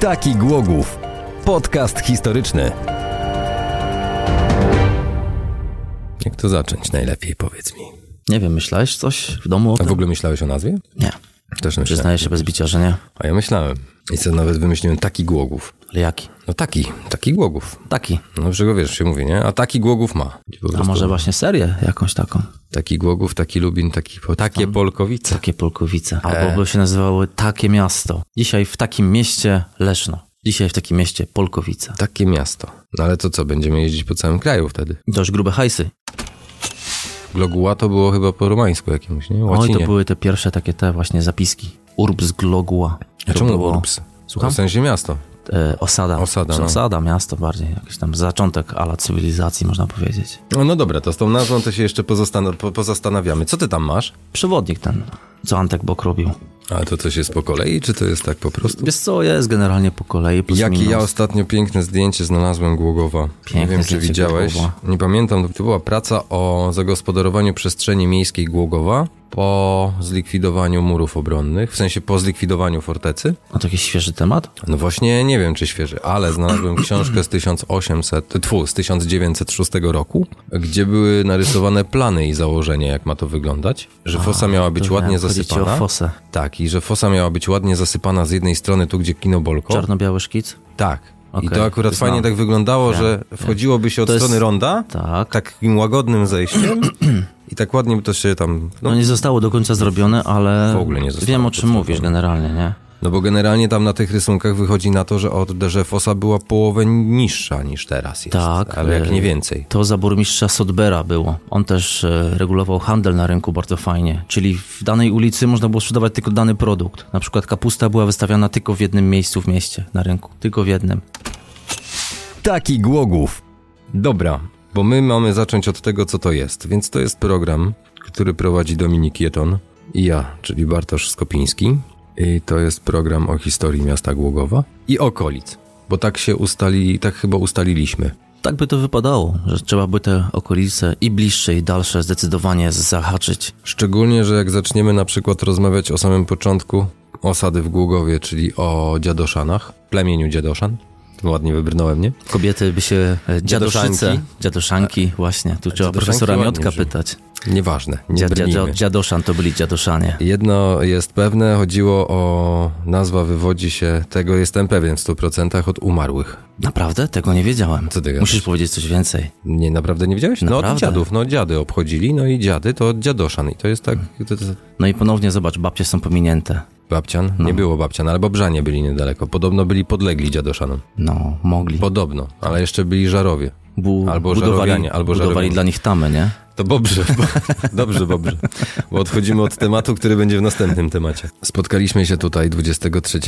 Taki Głogów. Podcast historyczny. Jak to zacząć najlepiej, powiedz mi. Nie wiem, myślałeś coś w domu o A tym? w ogóle myślałeś o nazwie? Nie. Też myślałem. Przyznaję się bez bicia, że nie. A ja myślałem. I co, nawet wymyśliłem taki Głogów. Ale jaki? No taki, taki Głogów. Taki. No przecież wiesz, się mówi, nie? A taki Głogów ma. Po A prostu może właśnie serię jakąś taką? Taki Głogów, taki Lubin, taki, po- takie Polkowice. Takie E. Polkowice. Albo by się nazywały takie miasto. Dzisiaj w takim mieście Leszno. Dzisiaj w takim mieście Polkowice. Takie miasto. No ale to co, będziemy jeździć po całym kraju wtedy? Dość grube hajsy. Gloguła to było chyba po romańsku jakimś, nie? Oj, Łacinie. No to były te pierwsze takie te właśnie zapiski. Urbs Glogua. A To czemu było, Urbs? Słucham? W sensie miasto. E, osada. Osada, no. Osada, miasto bardziej. Jakiś tam zaczątek ala cywilizacji, można powiedzieć. No, no dobra, to z tą nazwą to się jeszcze pozastan- po- pozastanawiamy. Co ty tam masz? Przewodnik ten, co Antek Bok robił. A to coś jest po kolei, czy to jest tak po prostu? Wiesz co, jest generalnie po kolei. Plus Jakie minus. ja ostatnio piękne zdjęcie znalazłem Głogowa. Nie Piękne wiem, czy zdjęcie widziałeś. Głogowa. Nie pamiętam, to była praca o zagospodarowaniu przestrzeni miejskiej Głogowa po zlikwidowaniu murów obronnych, w sensie po zlikwidowaniu fortecy. A to jakiś świeży temat? No właśnie, nie wiem czy świeży, ale znalazłem książkę z 1800, tfu, z 1906 roku, gdzie były narysowane plany i założenia, jak ma to wyglądać, że fosa miała być to ładnie miałem powiedzieć zasypana. o fosę. Tak, i że fosa miała być ładnie zasypana z jednej strony tu, gdzie kino Bolko. Czarno-biały szkic? Tak. I Okej, to akurat znam. fajnie tak wyglądało, Wiem, że wchodziłoby się od To jest- strony ronda, Tak. takim łagodnym zejściem i tak ładnie by to się tam... No, No nie zostało do końca zrobione, ale W ogóle nie zostało wiem o to czym mówisz generalnie, nie? no bo generalnie tam na tych rysunkach wychodzi na to, że, od, że fosa była połowę niższa niż teraz jest. Tak, Ale jak e, nie więcej. To za burmistrza Sodbera było. On też e, regulował handel na rynku bardzo fajnie. Czyli w danej ulicy można było sprzedawać tylko dany produkt. Na przykład kapusta była wystawiana tylko w jednym miejscu w mieście, na rynku. Tylko w jednym. Taki Głogów. Dobra, bo my mamy zacząć od tego, co to jest. Więc to jest program, który prowadzi Dominik Jeton i ja, czyli Bartosz Skopiński. I to jest program o historii miasta Głogowa i okolic. Bo tak się ustalili, tak chyba ustaliliśmy. Tak by to wypadało, że trzeba by te okolice i bliższe i dalsze zdecydowanie zahaczyć. Szczególnie, że jak zaczniemy na przykład rozmawiać o samym początku osady w Głogowie, czyli o dziadoszanach, plemieniu dziadoszan. Ładnie wybrnąłem, nie? Kobiety by się e, dziadoszyce, Dziadoszanki. dziadoszanki, właśnie, tu trzeba dziadoszanki profesora ładnie Miotka brzmi. pytać. Nieważne, nie Dzia, dzia, dzia, brnijmy. dziadoszan to byli dziadoszanie. Jedno jest pewne, chodziło o nazwa wywodzi się, tego jestem pewien w 100% od umarłych. Naprawdę? Tego nie wiedziałem. Co ty gadasz? Musisz powiedzieć coś więcej. Nie, naprawdę nie wiedziałeś? No od Naprawdę. dziadów, no dziady obchodzili, no i dziady to od dziadoszan i to jest tak, to, to, No i ponownie zobacz, babcie są pominięte. babcian, No. nie było babcian, ale bobrzanie byli niedaleko, podobno byli podlegli dziadoszanom, No, mogli. podobno, ale jeszcze byli żarowie, Bu, albo budowali, żarowianie, albo budowali żarowianie. dla nich tamy, nie? To Bobrze, bo, dobrze Bobrze, bo odchodzimy od tematu, który będzie w następnym temacie. Spotkaliśmy się tutaj 23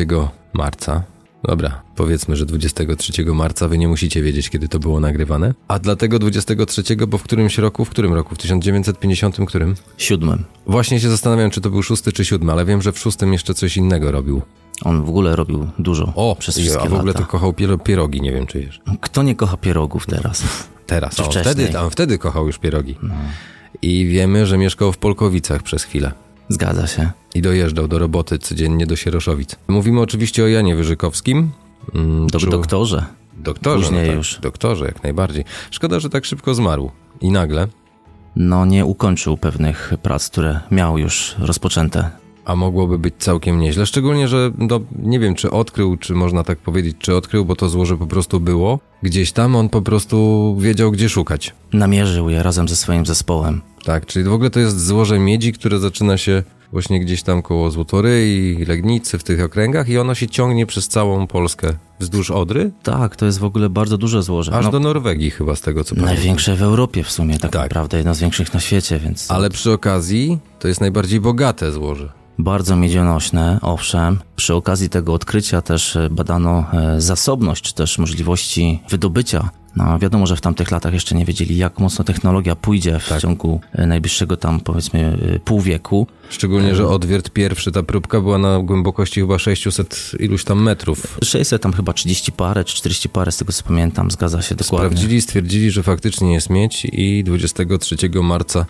marca. Dobra, powiedzmy, że 23 marca, wy nie musicie wiedzieć, kiedy to było nagrywane. A dlatego 23, bo w którymś roku, w którym roku? W 1950 którym? Siódmym. Właśnie się zastanawiam, czy to był szósty czy siódmy, ale wiem, że w szóstym jeszcze coś innego robił. On w ogóle robił dużo O, przez i- wszystkie a w ogóle lata. to kochał piero- pierogi, nie wiem czy wiesz. Kto nie kocha pierogów teraz? No, Teraz, Czy o, wcześniej? wtedy, tam, wtedy kochał już pierogi. I wiemy, że mieszkał w Polkowicach przez chwilę. Zgadza się. i dojeżdżał do roboty codziennie do Sieroszowic. Mówimy oczywiście o Janie Wyżykowskim. Mm, Do, czu- doktorze. doktorze, później no tak, już. Doktorze, jak najbardziej. Szkoda, że tak szybko zmarł. I nagle. No, nie ukończył pewnych prac, które miał już rozpoczęte. A mogłoby być całkiem nieźle. Szczególnie, że no, nie wiem, czy odkrył, czy można tak powiedzieć, czy odkrył, bo to złoże po prostu było. Gdzieś tam on po prostu wiedział, gdzie szukać. Namierzył je razem ze swoim zespołem. Tak, czyli w ogóle to jest złoże miedzi, które zaczyna się właśnie gdzieś tam koło Złotoryi, Legnicy, w tych okręgach i ono się ciągnie przez całą Polskę wzdłuż Odry, Tak, to jest w ogóle bardzo duże złoże. Aż No, do Norwegii chyba z tego co pamiętam. Największe w Europie w sumie, tak, Tak. naprawdę, jedno z większych na świecie, więc Ale przy okazji to jest najbardziej bogate złoże. bardzo miedzionośne, owszem. Przy okazji tego odkrycia też e, badano e, zasobność, czy też możliwości wydobycia No, wiadomo, że w tamtych latach jeszcze nie wiedzieli, jak mocno technologia pójdzie w Tak. ciągu e, najbliższego tam powiedzmy e, pół wieku. Szczególnie, Mm. że odwiert pierwszy, ta próbka była na głębokości chyba 600 iluś tam metrów. 600 tam chyba 30 parę czy 40 parę, z tego co pamiętam, zgadza się dokładnie. Sprawdzili, stwierdzili, że faktycznie jest miedź i 23 marca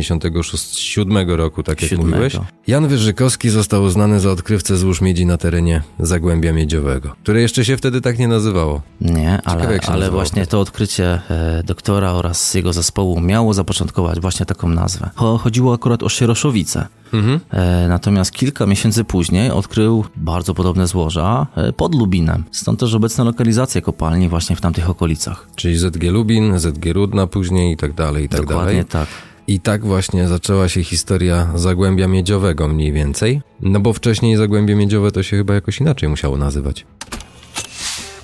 1957 roku, tak jak Siódmego. mówiłeś, Jan Wyżykowski został uznany za odkrywcę złóż miedzi na terenie Zagłębia Miedziowego, które jeszcze się wtedy tak nie nazywało. Nie, ale, jak się ale nazywało właśnie to odkrycie e, doktora oraz jego zespołu miało zapoczątkować właśnie taką nazwę. Cho- Chodziło akurat o Sieroszowice. Mhm. E, Natomiast kilka miesięcy później odkrył bardzo podobne złoża e, pod Lubinem. Stąd też obecne lokalizacje kopalni właśnie w tamtych okolicach. Czyli ZG Lubin, ZG Rudna później i tak dalej, i tak Dokładnie dalej. tak. I tak właśnie zaczęła się historia Zagłębia Miedziowego mniej więcej. No bo wcześniej Zagłębie Miedziowe to się chyba jakoś inaczej musiało nazywać.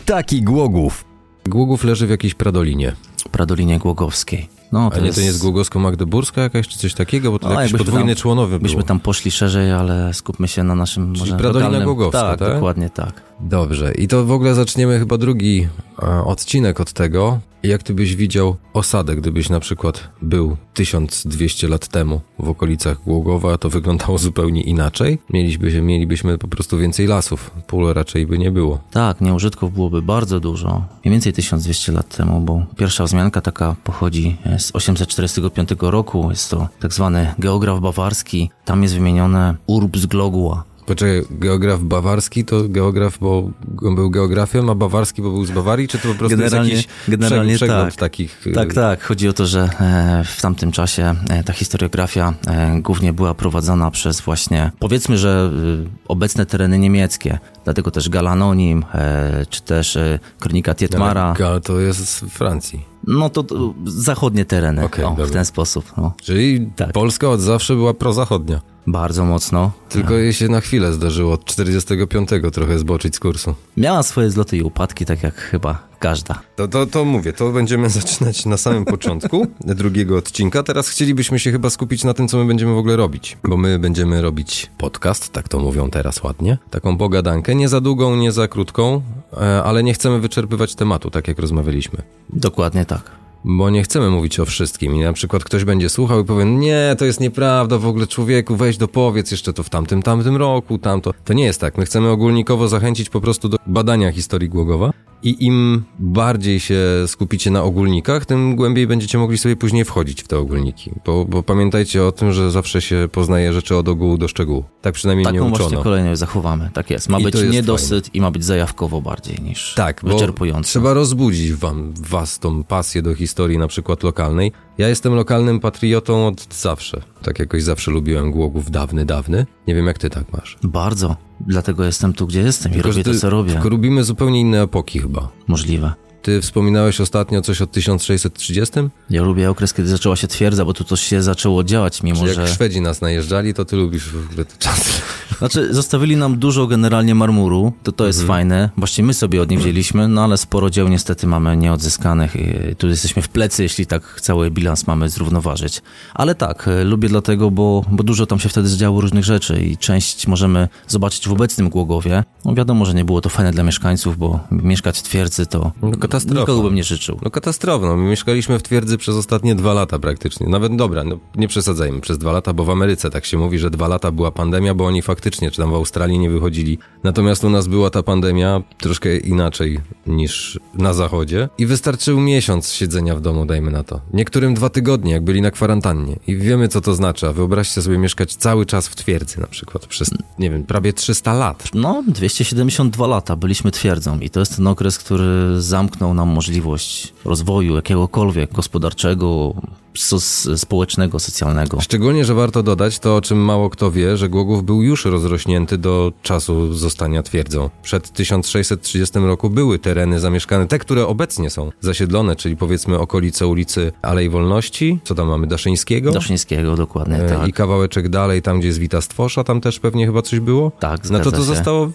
Taki Głogów. Głogów leży w jakiejś Pradolinie. Pradolinie Głogowskiej. No, A nie, to nie jest Głogowsko-Magdeburska jakaś czy coś takiego? Bo to No, jakiś jakbyśmy podwójny tam- członowy Byśmy było. tam poszli szerzej, ale skupmy się na naszym może Pradolina lokalnym... Głogowska, tak, tak? dokładnie tak. Dobrze. I to w ogóle zaczniemy chyba drugi e, odcinek od tego. Jak ty byś widział osadę, gdybyś na przykład był 1200 lat temu w okolicach Głogowa, to wyglądało zupełnie inaczej. Mielibyśmy, mielibyśmy po prostu więcej lasów. Pól raczej by nie było. Tak, nieużytków byłoby bardzo dużo, mniej więcej 1200 lat temu, bo pierwsza wzmianka taka pochodzi e, z 845 roku, jest to tak zwany geograf bawarski, tam jest wymienione Urbs Glogua. Poczekaj, geograf bawarski to geograf, bo on był geografiem, a bawarski, bo był z Bawarii, czy to po prostu Generalnie- jest jakiś generalnie przegląd tak. takich... e, Tak, tak, chodzi o to, że e, w tamtym czasie e, ta historiografia e, głównie była prowadzona przez właśnie, powiedzmy, że e, obecne tereny niemieckie, dlatego też Galanonim, e, czy też e, Kronika Tietmara, Ale to jest z Francji. no to, to zachodnie tereny, Okej, o, w dobra. ten sposób, no. Czyli Tak. Polska od zawsze była prozachodnia. bardzo mocno. Tylko jej się na chwilę zdarzyło od 45 trochę zboczyć z kursu. Miała swoje zloty i upadki, tak jak chyba każda. To, to, to mówię, to będziemy zaczynać na samym początku drugiego odcinka. Teraz chcielibyśmy się chyba skupić na tym, co my będziemy w ogóle robić. Bo my będziemy robić podcast, tak to mówią teraz ładnie. Taką pogadankę, nie za długą, nie za krótką, e, ale nie chcemy wyczerpywać tematu, tak jak rozmawialiśmy. Dokładnie tak. Bo nie chcemy mówić o wszystkim i na przykład ktoś będzie słuchał i powie, nie, to jest nieprawda, w ogóle człowieku, weź do powiedz jeszcze to w tamtym, tamtym roku, tamto. To nie jest tak, my chcemy ogólnikowo zachęcić po prostu do badania historii Głogowa i im bardziej się skupicie na ogólnikach, tym głębiej będziecie mogli sobie później wchodzić w te ogólniki, bo, bo pamiętajcie o tym, że zawsze się poznaje rzeczy od ogółu do szczegółu. Tak przynajmniej nie Taką właśnie uczono. kolejność zachowamy. Tak jest. Ma I być to jest niedosyt i ma być zajawkowo bardziej niż Tak, bo wyczerpująco. trzeba rozbudzić wam, was tą pasję do historii na przykład lokalnej. Ja jestem lokalnym patriotą od zawsze. Tak jakoś zawsze lubiłem Głogów dawny, dawny. Nie wiem jak ty tak masz. Bardzo. Dlatego jestem tu, gdzie jestem i Tylko, robię że ty- to, co robię. Tylko lubimy zupełnie inne epoki chyba. Możliwe. Ty wspominałeś ostatnio coś o 1630? Ja lubię okres, kiedy zaczęła się twierdza, bo tu coś się zaczęło działać, mimo Może... że... Jak Szwedzi nas najeżdżali, to ty lubisz w ogóle te czasy. Znaczy, zostawili nam dużo generalnie marmuru, to to Mhm. jest fajne. Właśnie my sobie od nich wzięliśmy, no ale sporo dzieł niestety mamy nieodzyskanych. i Tu jesteśmy w plecy, jeśli tak cały bilans mamy zrównoważyć. Ale tak, e, lubię dlatego, bo, bo dużo tam się wtedy zdziało różnych rzeczy i część możemy zobaczyć w obecnym Głogowie. No wiadomo, że nie było to fajne dla mieszkańców, bo mieszkać w twierdzy to No, katastrofa. nikogo bym nie życzył. No katastrofą. My mieszkaliśmy w twierdzy przez ostatnie dwa lata praktycznie. Nawet dobra, no nie przesadzajmy przez dwa lata, bo w Ameryce tak się mówi, że dwa lata była pandemia, bo oni faktycznie, czy tam w Australii nie wychodzili. Natomiast u nas była ta pandemia troszkę inaczej niż na zachodzie. I wystarczył miesiąc siedzenia w domu, dajmy na to. Niektórym dwa tygodnie, jak byli na kwarantannie. I wiemy, co to znaczy. A wyobraźcie sobie mieszkać cały czas w twierdzy na przykład przez, nie wiem, prawie 300 lat. No, 272 lata byliśmy twierdzą i to jest ten okres, który zamknął nam możliwość rozwoju jakiegokolwiek gospodarczego, so, społecznego, socjalnego. Szczególnie, że warto dodać to, o czym mało kto wie, że Głogów był już rozrośnięty do czasu zostania twierdzą. Przed 1630 roku były tereny zamieszkane, te, które obecnie są zasiedlone, czyli powiedzmy okolice ulicy Alei Wolności, co tam mamy, Daszyńskiego? Daszyńskiego dokładnie, E, tak. I kawałeczek dalej, tam gdzie jest Wita Stwosza, tam też pewnie chyba coś było. Tak, No to zgadza to się. zostało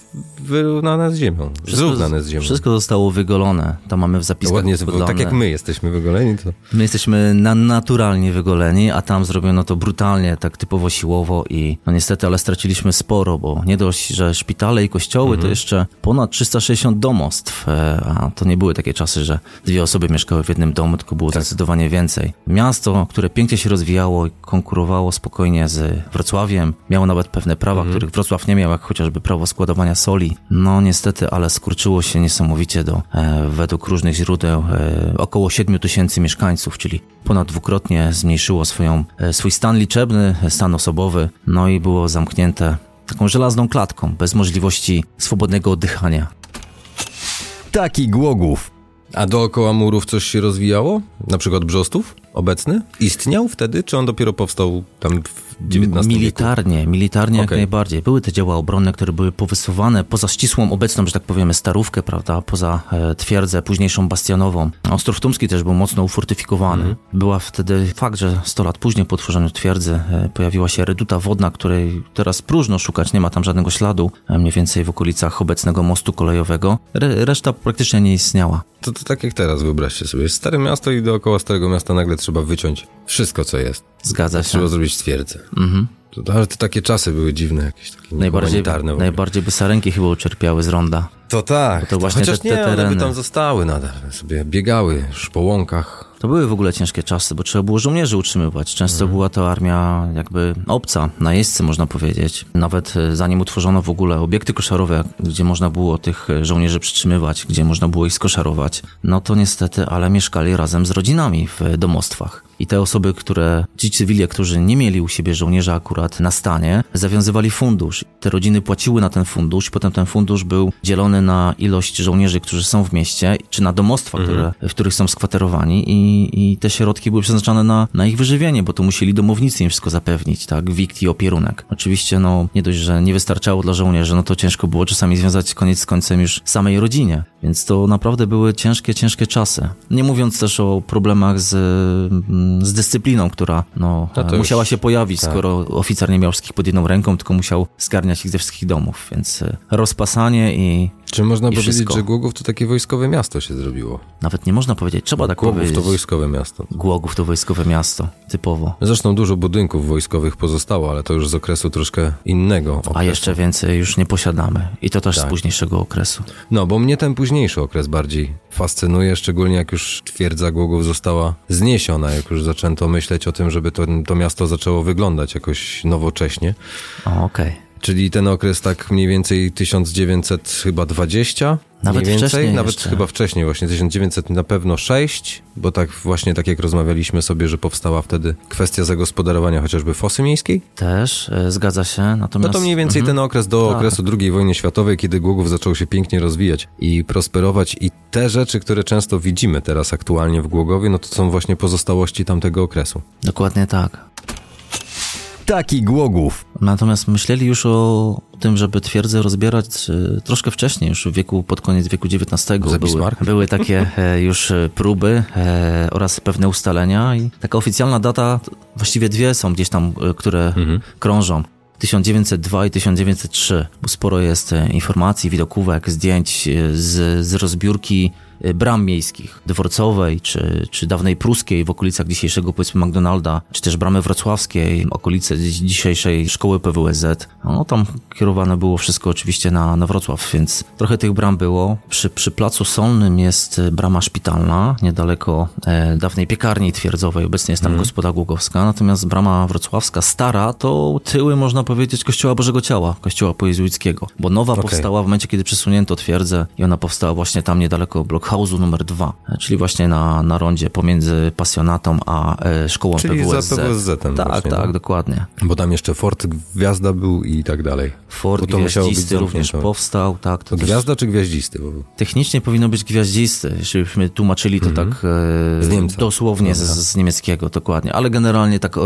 wyrównane z ziemią, zrównane z ziemią. Wszystko zostało wygolone. Tam mamy w zapiskach Ładnie, z- podane. tak jak my jesteśmy wygoleni, to My jesteśmy na, na naturalnie wygoleni, a tam zrobiono to brutalnie, tak typowo siłowo i no niestety, ale straciliśmy sporo, bo nie dość, że szpitale i kościoły, to jeszcze ponad 360 domostw, e, a to nie były takie czasy, że dwie osoby mieszkały w jednym domu, tylko było zdecydowanie więcej. Miasto, które pięknie się rozwijało i konkurowało spokojnie z Wrocławiem, miało nawet pewne prawa, których Wrocław nie miał, jak chociażby prawo składowania soli. No niestety, ale skurczyło się niesamowicie do, e, według różnych źródeł, e, około 7 tysięcy mieszkańców, czyli ponad dwukrotnie zmniejszyło swoją, e, swój stan liczebny, e, stan osobowy, no i było zamknięte taką żelazną klatką, bez możliwości swobodnego oddychania. Taki Głogów. A dookoła murów coś się rozwijało? Na przykład Brzostów obecny? Istniał wtedy, czy on dopiero powstał tam w XIX wieku? Militarnie, militarnie jak Okej. najbardziej. Były te dzieła obronne, które były powysuwane poza ścisłą obecną, że tak powiemy, starówkę, prawda, poza e, twierdzę, późniejszą bastionową. Ostrów Tumski też był mocno ufortyfikowany. Mhm. Była wtedy fakt, że 100 lat później po utworzeniu twierdzy e, pojawiła się reduta wodna, której teraz próżno szukać, nie ma tam żadnego śladu, e, mniej więcej w okolicach obecnego mostu kolejowego. Re, reszta praktycznie nie istniała. To, to tak jak teraz, wyobraźcie sobie. Jest stare miasto i dookoła starego miasta nagle trzeba wyciąć wszystko, co jest. Zgadza się. Trzeba zrobić twierdzę. To, ale to takie czasy były dziwne, jakieś takie Mhm. Najbardziej, niehumanitarne w ogóle. najbardziej by sarenki chyba uczerpiały z ronda. To tak. to właśnie Chociaż te- te nie, one by tereny. tam zostały nadal. Sobie biegały już po łąkach. To były w ogóle ciężkie czasy, bo trzeba było żołnierzy utrzymywać. Często była to armia jakby obca, najeźdcy można powiedzieć. Nawet e, zanim utworzono w ogóle obiekty koszarowe, gdzie można było tych e, żołnierzy przytrzymywać, gdzie można było ich skoszarować, no to niestety, ale mieszkali razem z rodzinami w e, domostwach. I te osoby, które, ci cywile, którzy nie mieli u siebie żołnierza akurat na stanie, zawiązywali fundusz. Te rodziny płaciły na ten fundusz, potem ten fundusz był dzielony na ilość żołnierzy, którzy są w mieście, czy na domostwa, Mhm. które, w których są skwaterowani i, i te środki były przeznaczane na, na ich wyżywienie, bo to musieli domownicy im wszystko zapewnić, tak, wikt i opierunek. Oczywiście, no, nie dość, że nie wystarczało dla żołnierzy, no to ciężko było czasami związać koniec z końcem już samej rodzinie, więc to naprawdę były ciężkie, ciężkie czasy. Nie mówiąc też o problemach z, mm, z dyscypliną, która, no, No to e, musiała już- się pojawić, skoro oficer nie miał wszystkich pod jedną ręką, tylko musiał zgarniać ich ze wszystkich domów, więc e, rozpasanie i Czy można I powiedzieć, wszystko. że Głogów to takie wojskowe miasto się zrobiło? nawet nie można powiedzieć, trzeba tak Głogów powiedzieć. to wojskowe miasto. Głogów to wojskowe miasto, typowo. Zresztą dużo budynków wojskowych pozostało, ale to już z okresu troszkę innego. A jeszcze więcej już nie posiadamy. I to Tak. też z późniejszego okresu. No, bo mnie ten późniejszy okres bardziej fascynuje, szczególnie jak już twierdza Głogów została zniesiona, jak już zaczęto myśleć o tym, żeby to, to miasto zaczęło wyglądać jakoś nowocześnie. O, Okej. Czyli ten okres tak mniej więcej 1900 chyba 20. Nawet mniej więcej, wcześniej nawet jeszcze. chyba wcześniej właśnie 1900 na pewno 6, bo tak właśnie tak jak rozmawialiśmy sobie, że powstała wtedy kwestia zagospodarowania chociażby fosy miejskiej. Też e, zgadza się, No natomiast... to mniej więcej Mhm. ten okres do Tak. okresu II wojny światowej, kiedy Głogów zaczął się pięknie rozwijać i prosperować i te rzeczy, które często widzimy teraz aktualnie w Głogowie, no to są właśnie pozostałości tamtego okresu. Dokładnie tak. Taki Głogów. Natomiast myśleli już o tym, żeby twierdzę rozbierać e, troszkę wcześniej, już w wieku, pod koniec wieku XIX. Za Były, Bismarck? były takie e, już e, próby e, oraz pewne ustalenia i taka oficjalna data, t- właściwie dwie są gdzieś tam, e, które krążą. 1902 i 1903, bo sporo jest e, informacji, widokówek, zdjęć e, z, z rozbiórki e, bram miejskich, dworcowej czy, czy dawnej pruskiej w okolicach dzisiejszego powiedzmy McDonalda, czy też bramy wrocławskiej, okolice dzi- dzisiejszej szkoły PWSZ. No tam kierowane było wszystko oczywiście na, na Wrocław, więc trochę tych bram było. Przy, przy Placu Solnym jest e, brama szpitalna, niedaleko e, dawnej piekarni twierdzowej, obecnie jest tam Mhm. gospoda Głogowska, natomiast brama wrocławska stara to tyły można powiedzieć kościoła Bożego Ciała, kościoła pojezuickiego, bo nowa powstała w momencie, kiedy przesunięto twierdzę i ona powstała właśnie tam niedaleko blockhouse'u numer 2, czyli właśnie na, na rondzie pomiędzy pasjonatą a e, szkołą Czyli za PWSZ. PWSZ-em Tak, właśnie, tak, no. dokładnie. Bo tam jeszcze Fort Gwiazda był i tak dalej. Ford Bo to musiało być Gwiaździsty również zamknięte. powstał, tak. To też- Gwiazda czy Gwiaździsty? Bo Technicznie powinno być gwiaździsty, jeśli byśmy tłumaczyli to tak e, Mhm. Z Niemca. dosłownie z, z niemieckiego, dokładnie. Ale generalnie tak, e,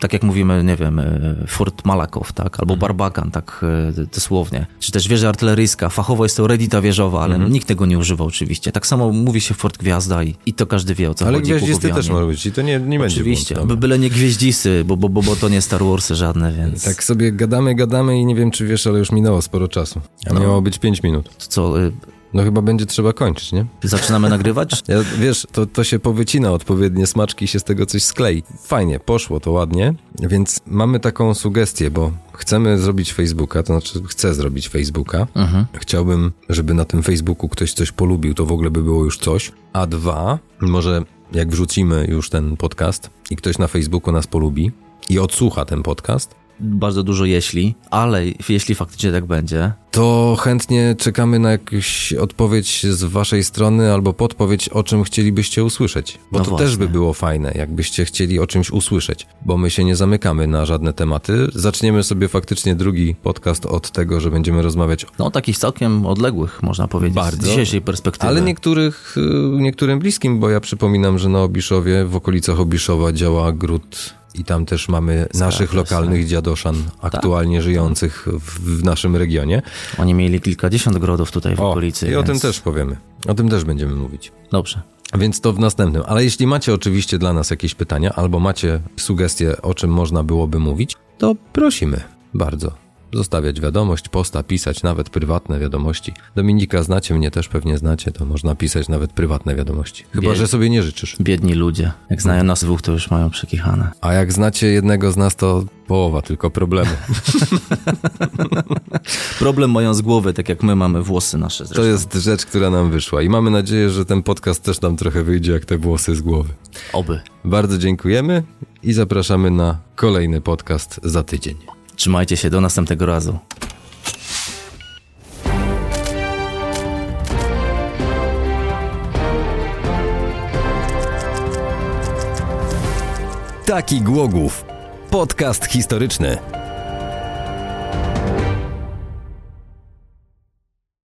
tak jak mówimy, nie wiem, e, Fort Malakow, tak? Mhm. Albo Barbakan, tak e, dosłownie. Czy też wieża artyleryjska. Fachowo jest to redita wieżowa, ale Mhm. nikt tego nie używa oczywiście. Tak samo mówi się Fort Gwiazda i, i to każdy wie o co Ale chodzi. Gwiaździsty Głogowianie. też może być i to nie, nie będzie Oczywiście, błąd, by tam. byle nie gwieździsty, bo, bo, bo, bo to nie Star Warsy żadne, więc... Tak No. sobie gadamy, gadamy i nie wiem czy wiesz, ale już minęło sporo czasu. A miało być 5 minut. to co, y, No chyba będzie trzeba kończyć, nie? Zaczynamy nagrywać? Ja, wiesz, to, to się powycina odpowiednie smaczki i się z tego coś sklei. Fajnie, poszło to ładnie, więc mamy taką sugestię, bo chcemy zrobić Facebooka, to znaczy chcę zrobić Facebooka. Mhm. Chciałbym, żeby na tym Facebooku ktoś coś polubił, to w ogóle by było już coś. A dwa, może jak wrzucimy już ten podcast i ktoś na Facebooku nas polubi i odsłucha ten podcast, Bardzo dużo jeśli, ale jeśli faktycznie tak będzie, to chętnie czekamy na jakąś odpowiedź z waszej strony albo podpowiedź, o czym chcielibyście usłyszeć. Bo No to właśnie. też by było fajne, jakbyście chcieli o czymś usłyszeć, bo my się nie zamykamy na żadne tematy. Zaczniemy sobie faktycznie drugi podcast od tego, że będziemy rozmawiać no takich całkiem odległych, można powiedzieć, Bardzo. z dzisiejszej perspektywy. Ale niektórych, y, niektórym bliskim, bo ja przypominam, że na Obiszowie, w okolicach Obiszowa działa gród i tam też mamy naszych się. Tak, lokalnych dziadoszan, aktualnie żyjących w, w naszym regionie. Oni mieli kilkadziesiąt grodów tutaj w O, okolicy. I o więc... tym też powiemy. O tym też będziemy mówić. Dobrze. Więc to w następnym. Ale jeśli macie oczywiście dla nas jakieś pytania, albo macie sugestie, o czym można byłoby mówić, to prosimy bardzo. Zostawiać wiadomość, posta, pisać nawet prywatne wiadomości. Dominika, znacie mnie też pewnie znacie, to można pisać nawet prywatne wiadomości. Chyba, Wiel- że sobie nie życzysz. Biedni ludzie. Jak znają nas dwóch, to już mają przekichane. A jak znacie jednego z nas, to połowa tylko problemu. Problem mają z głowy, tak jak my mamy włosy nasze To zresztą. jest rzecz, która nam wyszła. I mamy nadzieję, że ten podcast też nam trochę wyjdzie, jak te włosy z głowy. Oby. Bardzo dziękujemy i zapraszamy na kolejny podcast za tydzień. Trzymajcie się, do następnego razu. Taki Głogów. Podcast historyczny.